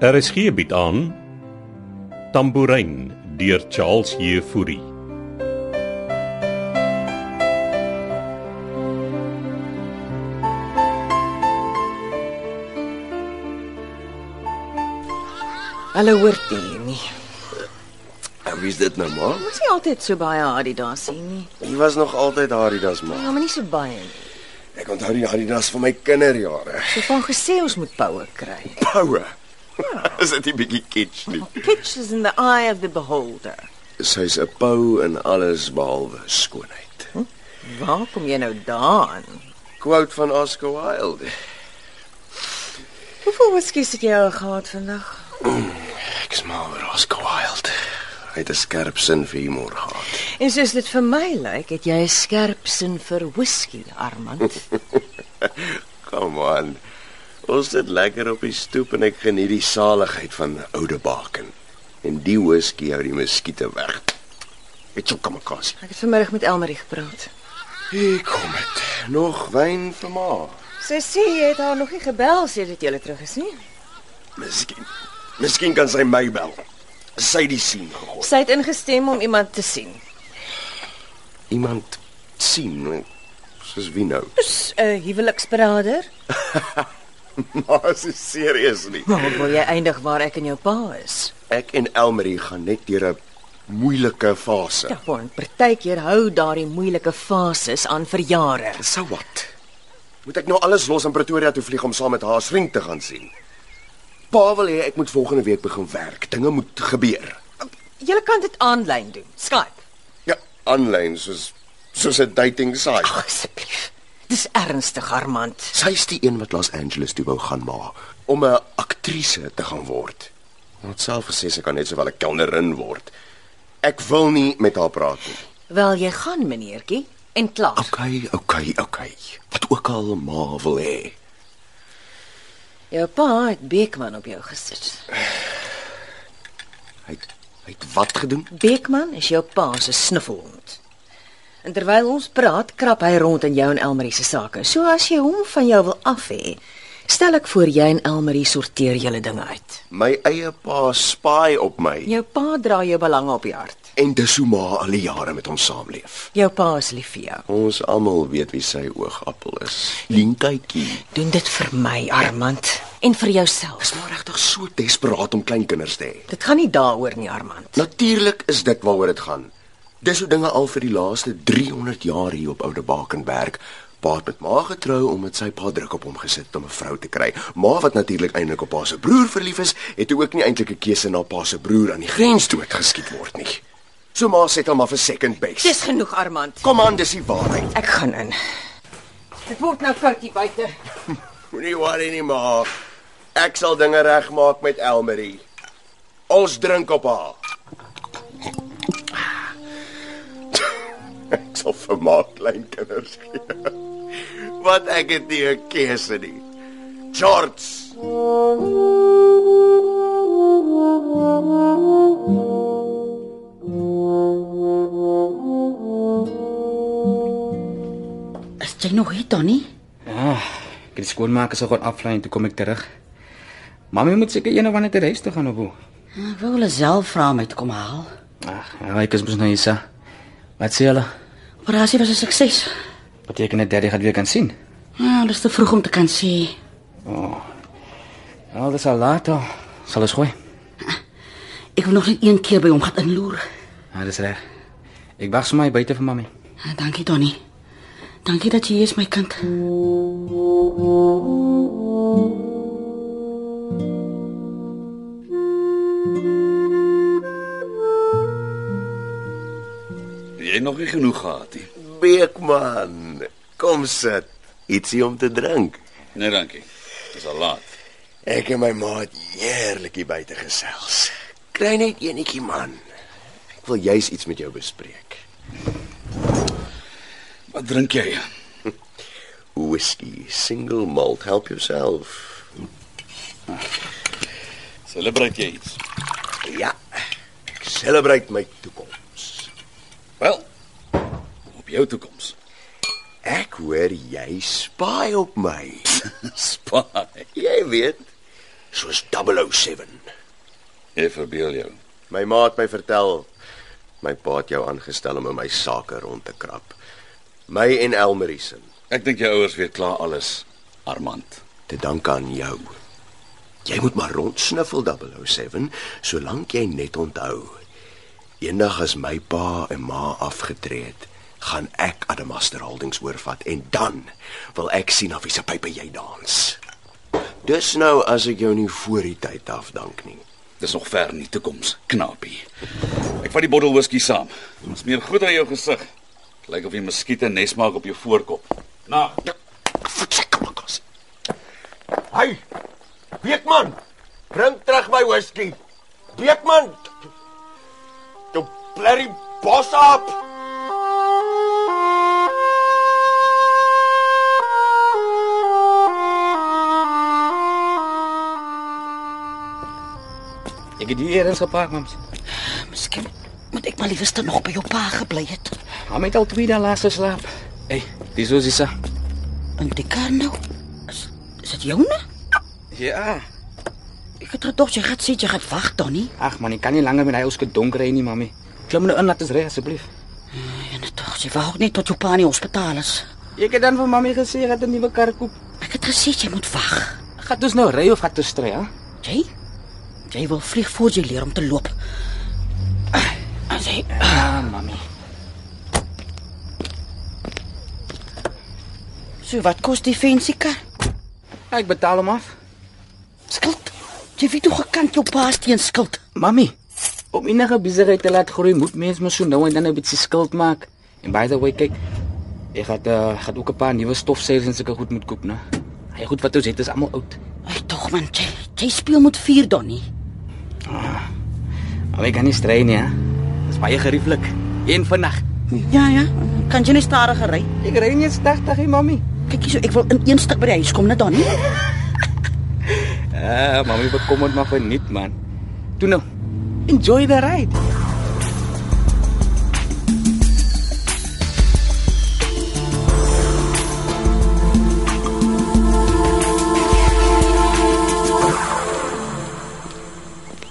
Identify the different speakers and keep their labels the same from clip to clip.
Speaker 1: RSG bied Er aan Tambourin deur Charles Jefouri.
Speaker 2: Hulle hoort nie nie.
Speaker 3: En wie is dit nou maar?
Speaker 2: Ons is nie altyd so baie Adidas hier nie.
Speaker 3: Jy was nog altyd Adidas maar.
Speaker 2: Ja, maar nie so baie nie.
Speaker 3: Ek onthou die Adidas van my kinderjare.
Speaker 2: So van gesê ons moet poue kry.
Speaker 3: Poue. is dit nie bietjie kitsch nie?
Speaker 2: Pitch is in the eye of the beholder.
Speaker 3: Sy's 'n pou in alles behalwe skoonheid.
Speaker 2: Waar kom jy nou daaraan?
Speaker 3: Quote van Oscar Wilde.
Speaker 2: Hoeveel whisky het jy al gehad vandag?
Speaker 3: Ek smaal oor Oscar Wilde. Hy het 'n skerp sin vir humor gehad.
Speaker 2: En soos dit vir my lyk, het jy 'n skerp sin vir whisky, Armand.
Speaker 3: Kom aan. Ons sit lekker op die stoep en ek geniet die saligheid van oude baken. En die whisky hou die muskiete weg. Ek sou kom kos.
Speaker 2: Ek het vanmiddag met Elmarie gepraat.
Speaker 3: Hier kom dit. Nog wyn vir ma.
Speaker 2: Sy sê jy het haar nog nie gebel sedert jy hulle terug is nie.
Speaker 3: Miskien. Miskien kan sy my bel. Sy die sien gehoor.
Speaker 2: Sy het ingestem om iemand te sien.
Speaker 3: Iemand sien. Soos wie nou?
Speaker 2: Dis 'n huweliksberader.
Speaker 3: Maar as jy serieus nie.
Speaker 2: Maar wil jy eindig waar ek en jou pa is?
Speaker 3: Ek en Elmarie gaan net deur 'n moeilike fase.
Speaker 2: Ja, want partykeer hou daardie moeilike fases aan vir jare.
Speaker 3: So wat? Moet ek nou alles los in Pretoria toe vlieg om saam met haar vriend te gaan sien? Pa wil hê ek moet volgende week begin werk. Dinge moet gebeur.
Speaker 2: Jy kan dit aanlyn doen. Skype.
Speaker 3: Ja, aanlyn soos soos 'n dating site.
Speaker 2: Ag asseblief. Dis ernstig, Armand.
Speaker 3: Sy's die een wat Los Angeles toe wou gaan ma om 'n aktrise te gaan word. Wat self gesê sy kan net sowel 'n kelnerin word. Ek wil nie met haar praat nie.
Speaker 2: Wel, jy gaan, meneertjie, en klaar.
Speaker 3: Okay, okay, okay. Wat ook al ma wil hê.
Speaker 2: Jou pa het Beekman op jou gesit.
Speaker 3: Hy het- hy het wat gedoen?
Speaker 2: Beekman is jou pa se snuffelhond. En terwyl ons praat, krap hy rond in jou en Elmarie se sake. So as jy hom van jou wil af hê, stel ek voor jy en Elmarie sorteer julle dinge uit.
Speaker 3: My eie pa spy op my
Speaker 2: Jou pa dra jou belange op die hart.
Speaker 3: en dis hoe ma al die jare met hom saamleef.
Speaker 2: Jou pa is lief vir jou.
Speaker 3: Ons almal weet wie sy oogappel is. Lientjie.
Speaker 2: Doen dit vir my, Armand, en vir
Speaker 3: Is
Speaker 2: jouself.
Speaker 3: maar regtig so desperaat om kleinkinders te hê.
Speaker 2: Dit gaan nie daaroor nie, Armand.
Speaker 3: Natuurlik is dit waaroor dit gaan. Dis hoe dinge al vir die laaste 300 jaar hier op Oude Bakenberg. Pa het met ma getrou omdat sy pa druk op hom gesit het om 'n vrou te kry. Ma wat natuurlik eintlik op pa se broer verlief is, het toe ook nie eintlik 'n keuse na pa se broer aan die grens doodgeskiet word nie. So ma sê dit al maar vir second best.
Speaker 2: Dis genoeg, Armand.
Speaker 3: Kom aan, dis die waarheid.
Speaker 2: Ek gaan in. Dit word nou koud hier buite.
Speaker 3: Moenie worry nie ma. Ek sal dinge regmaak met Elmarie. Ons drink op haar. Ek sal vir ma klein kinders gee. Want ek het nie 'n keuse nie. George.
Speaker 4: Is jy nog hier, Tannie?
Speaker 5: Ah, ek het die skoonmaak se gaan aflei en toe kom ek terug. Mamy moet seker een of ander te reis toe gaan of hoe?
Speaker 4: Ja, Ek wou hulle self vra om my te kom haal.
Speaker 5: Ag, ja, ek is mos nou hier. sa. Wat sê hulle?
Speaker 4: Operasie was 'n sukses.
Speaker 5: Beteken dit daddy gaan weer kan sien?
Speaker 4: Ja, dis te vroeg om te kan sê.
Speaker 5: Al dis al laat al. Sal ons gooi.
Speaker 4: Ek wil nog net een keer by hom gaan inloer.
Speaker 5: Ja, dis reg. Ek wag sommer hier buite vir mamy.
Speaker 4: Ah, Dankie, Tannie. Dankie dat jy hier is, my kind.
Speaker 6: Jy het nog nie genoeg gehad nie.
Speaker 3: Beekman. Kom sit. Ietsie om te drink.
Speaker 6: Nee, dankie. Dis al laat.
Speaker 3: Ek en my ma het heerlik hier buite gesels. Kry net enetjie man. Ek wil juis iets met jou bespreek.
Speaker 6: Wat drink jy?
Speaker 3: Whisky, single malt, help yourself.
Speaker 6: Celebrate jy iets?
Speaker 3: Ja. Ek celebrate my toekoms.
Speaker 6: Wel, op jou toekoms.
Speaker 3: Ek hoor jy spy op my.
Speaker 6: Spaai.
Speaker 3: Jy weet, soos 007.
Speaker 6: Jy verbeel jou.
Speaker 3: My ma het my vertel my pa het jou aangestel om in my sake rond te krap. My en Elmarie se.
Speaker 6: Ek dink jou ouers weet klaar alles, Armand.
Speaker 3: Te danke aan jou. Jy moet maar rondsniffel 007 solank jy net onthou. Eendag as my pa en ma afgetree het, gaan ek Adamaster Holdings oorvat en dan wil ek sien of wie se pype jy dans. Dis nou as ek jou nie voor die tyd afdank nie.
Speaker 6: Dis nog ver in die toekoms, knapie. Ek vat die bottel whisky saam. Ons meer goed aan jou gesig. Lyk of jy muskiete nes maak op jou voorkop. Nag.
Speaker 3: Verseker mekaar.
Speaker 7: Hey! Beekman, bring terug my whisky. Beekman, jou blerry bos op.
Speaker 5: Ek het hier eens gepark, mams.
Speaker 4: Miskien moet ek maar liewerste nog by jou pa gebly het.
Speaker 5: Hom het al twee dae laas geslaap. Hey, dis hoe dis.
Speaker 4: In die kar nou. Is, is dit joune?
Speaker 5: Ja.
Speaker 4: Ek het gedoog jy gaan sê jy gaan wag dan nie.
Speaker 5: Ag man, ek kan nie langer met hy ouske donker ry nie, mami. Klim nou in laat ons ry asseblief.
Speaker 4: En dit tog jy wou ook Ja, net tot jou pa in die hospitaal is.
Speaker 5: Ek het dan vir mami gesê ek het 'n nuwe kar koop.
Speaker 4: Ek het gesê jy moet wag.
Speaker 5: Gaan ons nou ry of gaan ons stry, hè?
Speaker 4: Jy? Jy wil vlieg voor jy leer om te loop. As jy
Speaker 5: Ah, mami.
Speaker 4: so wat kos die fancy kar?
Speaker 5: Ja, Ek betaal hom af.
Speaker 4: Skuld. Jy weet hoe gekant jou pa steen skuld.
Speaker 5: Mami, om enige besigheid te laat groei, moet mens mos so nou en dan 'n bietjie skuld maak. En by the way, kyk, ek het uh, gaan ook 'n paar nuwe stofseilers en sulke goed moet koop, né? Hy goed wat ons het is almal oud.
Speaker 4: Ag tog man, jy, jy speel met vuur dan nie.
Speaker 5: Maar ek kan nie stry nie, hè. Dis baie gerieflik. Een vandag.
Speaker 4: Ja ja, kan jy nie stadiger ry?
Speaker 5: Ek ry nie eens 80 nie, mami.
Speaker 4: Kyk hierso, ek wil in een stuk by die huis kom net dan nie.
Speaker 5: Ah, mami bekom dit maar vir net man. Toe nou. Enjoy the ride.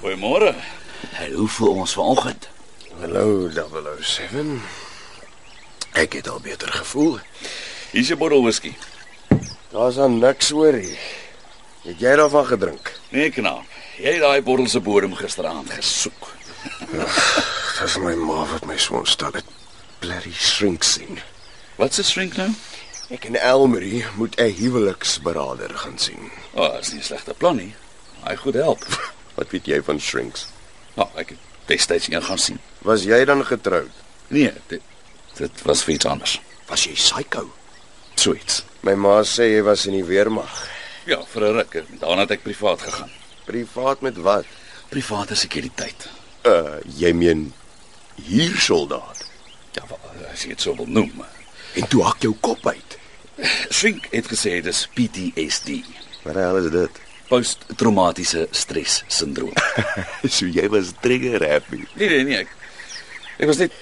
Speaker 6: Goeiemôre. Hallo vir ons vanoggend.
Speaker 3: Hallo 007. Ek het al beter gevoel.
Speaker 6: Hier's jou bottel whisky.
Speaker 3: Daar's aan niks oor hier. Het jy daarvan gedrink?
Speaker 6: Nee, knaap. Jy het daai bottel se bodem gisteraand gesoek.
Speaker 3: Dis my ma wat my so ontstel het. Blerry shrink sien.
Speaker 6: Wat se drink nou?
Speaker 3: Ek en Elmarie moet 'n huweliksberader gaan sien.
Speaker 6: O, oh, is nie 'n slegte plan nie. Hy goed help.
Speaker 3: Wat weet jy van shrinks?
Speaker 6: Nou, ek het destyds een gaan sien.
Speaker 3: Was jy dan getroud?
Speaker 6: Nee, dit dit was vir iets anders.
Speaker 3: Was jy psycho?
Speaker 6: So iets.
Speaker 3: My ma sê jy was in die weermag.
Speaker 6: Ja, vir 'n ruk. en Daarna het ek privaat gegaan.
Speaker 3: Privaat met wat?
Speaker 6: Private sekuriteit.
Speaker 3: Uh, jy meen hier soldaat.
Speaker 6: Ja, wel, as jy dit sou wil noem.
Speaker 3: En toe hak jou kop uit.
Speaker 6: Swink het gesê dis PTSD,
Speaker 3: Wat die hel is dit?
Speaker 6: posttraumatiese stres sindroom.
Speaker 3: so jy was trigger happy.
Speaker 6: nee, nee, nee. Ek, ek was net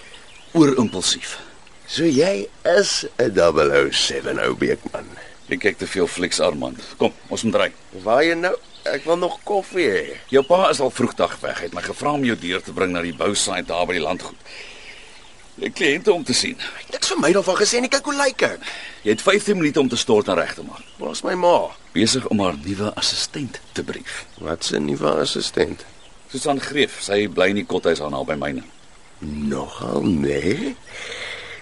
Speaker 6: oor impulsief.
Speaker 3: So jy is 'n 007 ou beekman.
Speaker 6: Ek kyk te veel flieks Armand. Kom, ons moet ry.
Speaker 3: Waar jy nou? Ek wil nog koffie hê.
Speaker 6: Jou pa is al vroegdag weg. Hy het my gevra om jou deur te bring na die bousite daar by die landgoed. Jy het kliënte om te sien.
Speaker 3: Niks vir my daarvan gesê nie. Kyk hoe lyk ek.
Speaker 6: Jy het 15 minute om te stort en reg te maak.
Speaker 3: Waar's my ma?
Speaker 6: Besig om haar nuwe assistent te brief.
Speaker 3: Wat 'n nuwe assistent.
Speaker 6: Susan Greef, sy bly in die kothuis aan naby myne.
Speaker 3: Nogal nee.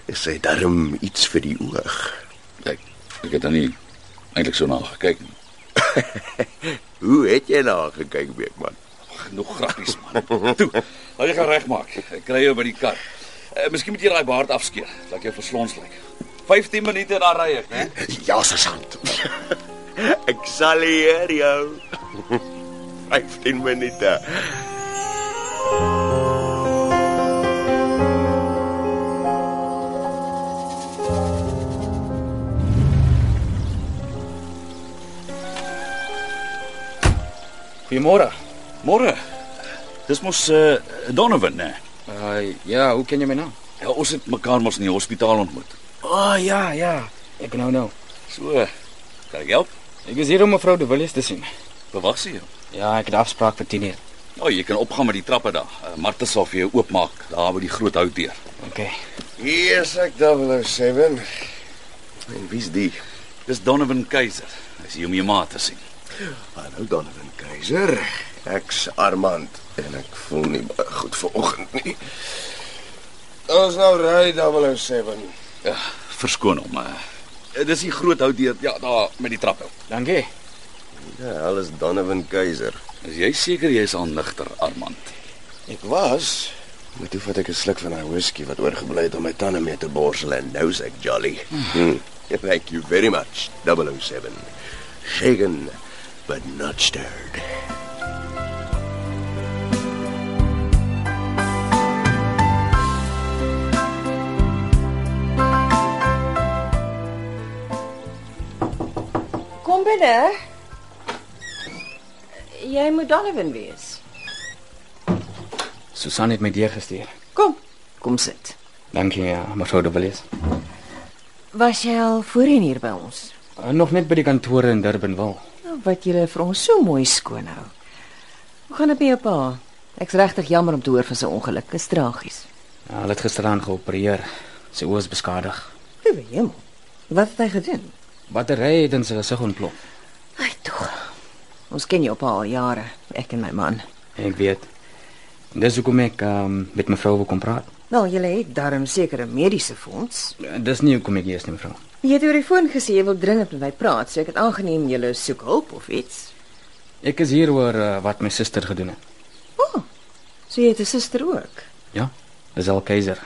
Speaker 3: Is hy darm iets vir die oog?
Speaker 6: Kyk, ek het dan nie eintlik so na haar gekyk nie.
Speaker 3: Hoe het jy na haar gekyk, Beekman?
Speaker 6: Genoeg grappies man. Toe, laat jy gaan regmaak. Ek kry jou by die kar. Uh, miskien moet jy daai baard afskeer, laat jou verslons lyk. 15 minute daar ry ek, né?
Speaker 3: Ja, sergeant. Ek sal hier jou. 15 minute.
Speaker 5: Goeiemôre.
Speaker 6: Môre. Dis mos eh uh, Donovan, né?
Speaker 5: Uh ja, hoe ken jy my naam?
Speaker 6: Ja, ons het mekaar mos in die hospitaal ontmoet.
Speaker 5: Ah oh, ja, ja. Ek nou nou.
Speaker 6: So, kan ek help?
Speaker 5: Ek is hier om mevrou De Villiers te sien.
Speaker 6: Bewag sy jou.
Speaker 5: Ja, ek het 'n afspraak vir 10 uur.
Speaker 6: O, jy kan opgaan met die trappe daar. Eh, Martha sal vir jou oopmaak daar by die groot houtdeur.
Speaker 5: Okay.
Speaker 3: Hier is ek 007. En wie's die?
Speaker 6: Dis Donovan Keiser. Hy's hier om jou ma te sien.
Speaker 3: Hallo Donovan Keiser. Ek's Armand en ek voel nie baie goed vanoggend nie. Ons nou ry 007.
Speaker 6: Ja, verskoon hom. eh. Dis die groot houtdeur, ja, daar met die trappe.
Speaker 5: Dankie.
Speaker 3: Ja, alles Donovan Keiser.
Speaker 6: Is jy seker jy's aan ligter, Armand?
Speaker 3: Ek was Maar toe vat ek 'n sluk van daai whisky wat oorgebly het om my tande mee te borsel en nou's ek jolly. Hmm. Thank you very much, 007. Shaken but not stirred.
Speaker 2: Kom binne. Jy moet Donovan wees.
Speaker 5: Susan het my deur gestuur.
Speaker 2: Kom, kom sit.
Speaker 5: Dankie, ja, mevrou De Villiers.
Speaker 2: Was jy al voorheen hier by ons?
Speaker 5: Uh, nog net by die kantore in Durbanville.
Speaker 2: Nou, wat julle vir ons so mooi skoon hou. Hoe gaan dit met jou pa? Ek's regtig jammer om te hoor van sy ongeluk. Dit is tragies.
Speaker 5: Ja, hulle het gisteraan geopereer. Sy oë is beskadig.
Speaker 2: Liewe hemel. Wat het hy gedoen?
Speaker 5: Battery het in sy gesig ontplof.
Speaker 2: Ai tog. Ons ken jou pa al jare, ek en my man.
Speaker 5: Ek weet. Dis hoekom ek um, met mevrou wil kom praat.
Speaker 2: Wel, julle het darm sekere mediese fonds.
Speaker 5: Uh, Dis nie hoekom ek hier is nie, mevrou.
Speaker 2: Jy het oor die foon gesê jy wil dringend met my praat, so ek het aangeneem julle soek hulp of iets.
Speaker 5: Ek is hier oor uh, wat my suster gedoen het.
Speaker 2: So jy het 'n suster ook.
Speaker 5: Ja, dis al keiser.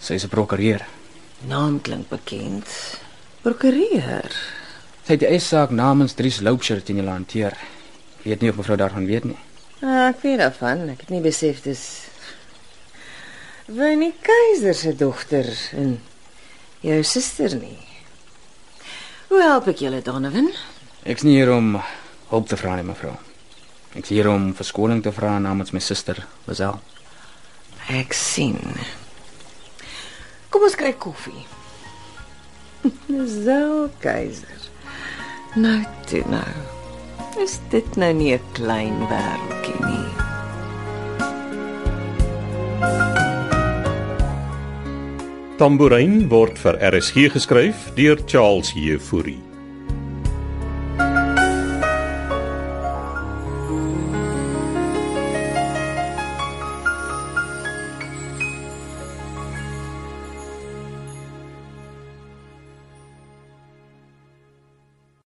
Speaker 5: Sy is 'n prokureur.
Speaker 2: Naam klink bekend. Prokureur.
Speaker 5: Sy het die eissaak namens Dries Loubser teen julle hanteer. Ek Weet nie of mevrou daarvan weet nie.
Speaker 2: Ah, ek weet daarvan. Ek het nie besef dis Winnie Keiser se dogter en jou suster nie. Hoe help ek julle, Donovan?
Speaker 5: Ek's nie hier om hulp te vra nie, mevrou. Ek's hier om verskoning te vra namens my suster, Lisel.
Speaker 2: Ek sien. Kom ons kry koffie. Zo, Keiser. Nou toe nou. Is dit nou nie 'n klein wêreldjie nie?
Speaker 1: Tambourin word vir RSG geskryf deur Charles Heffury.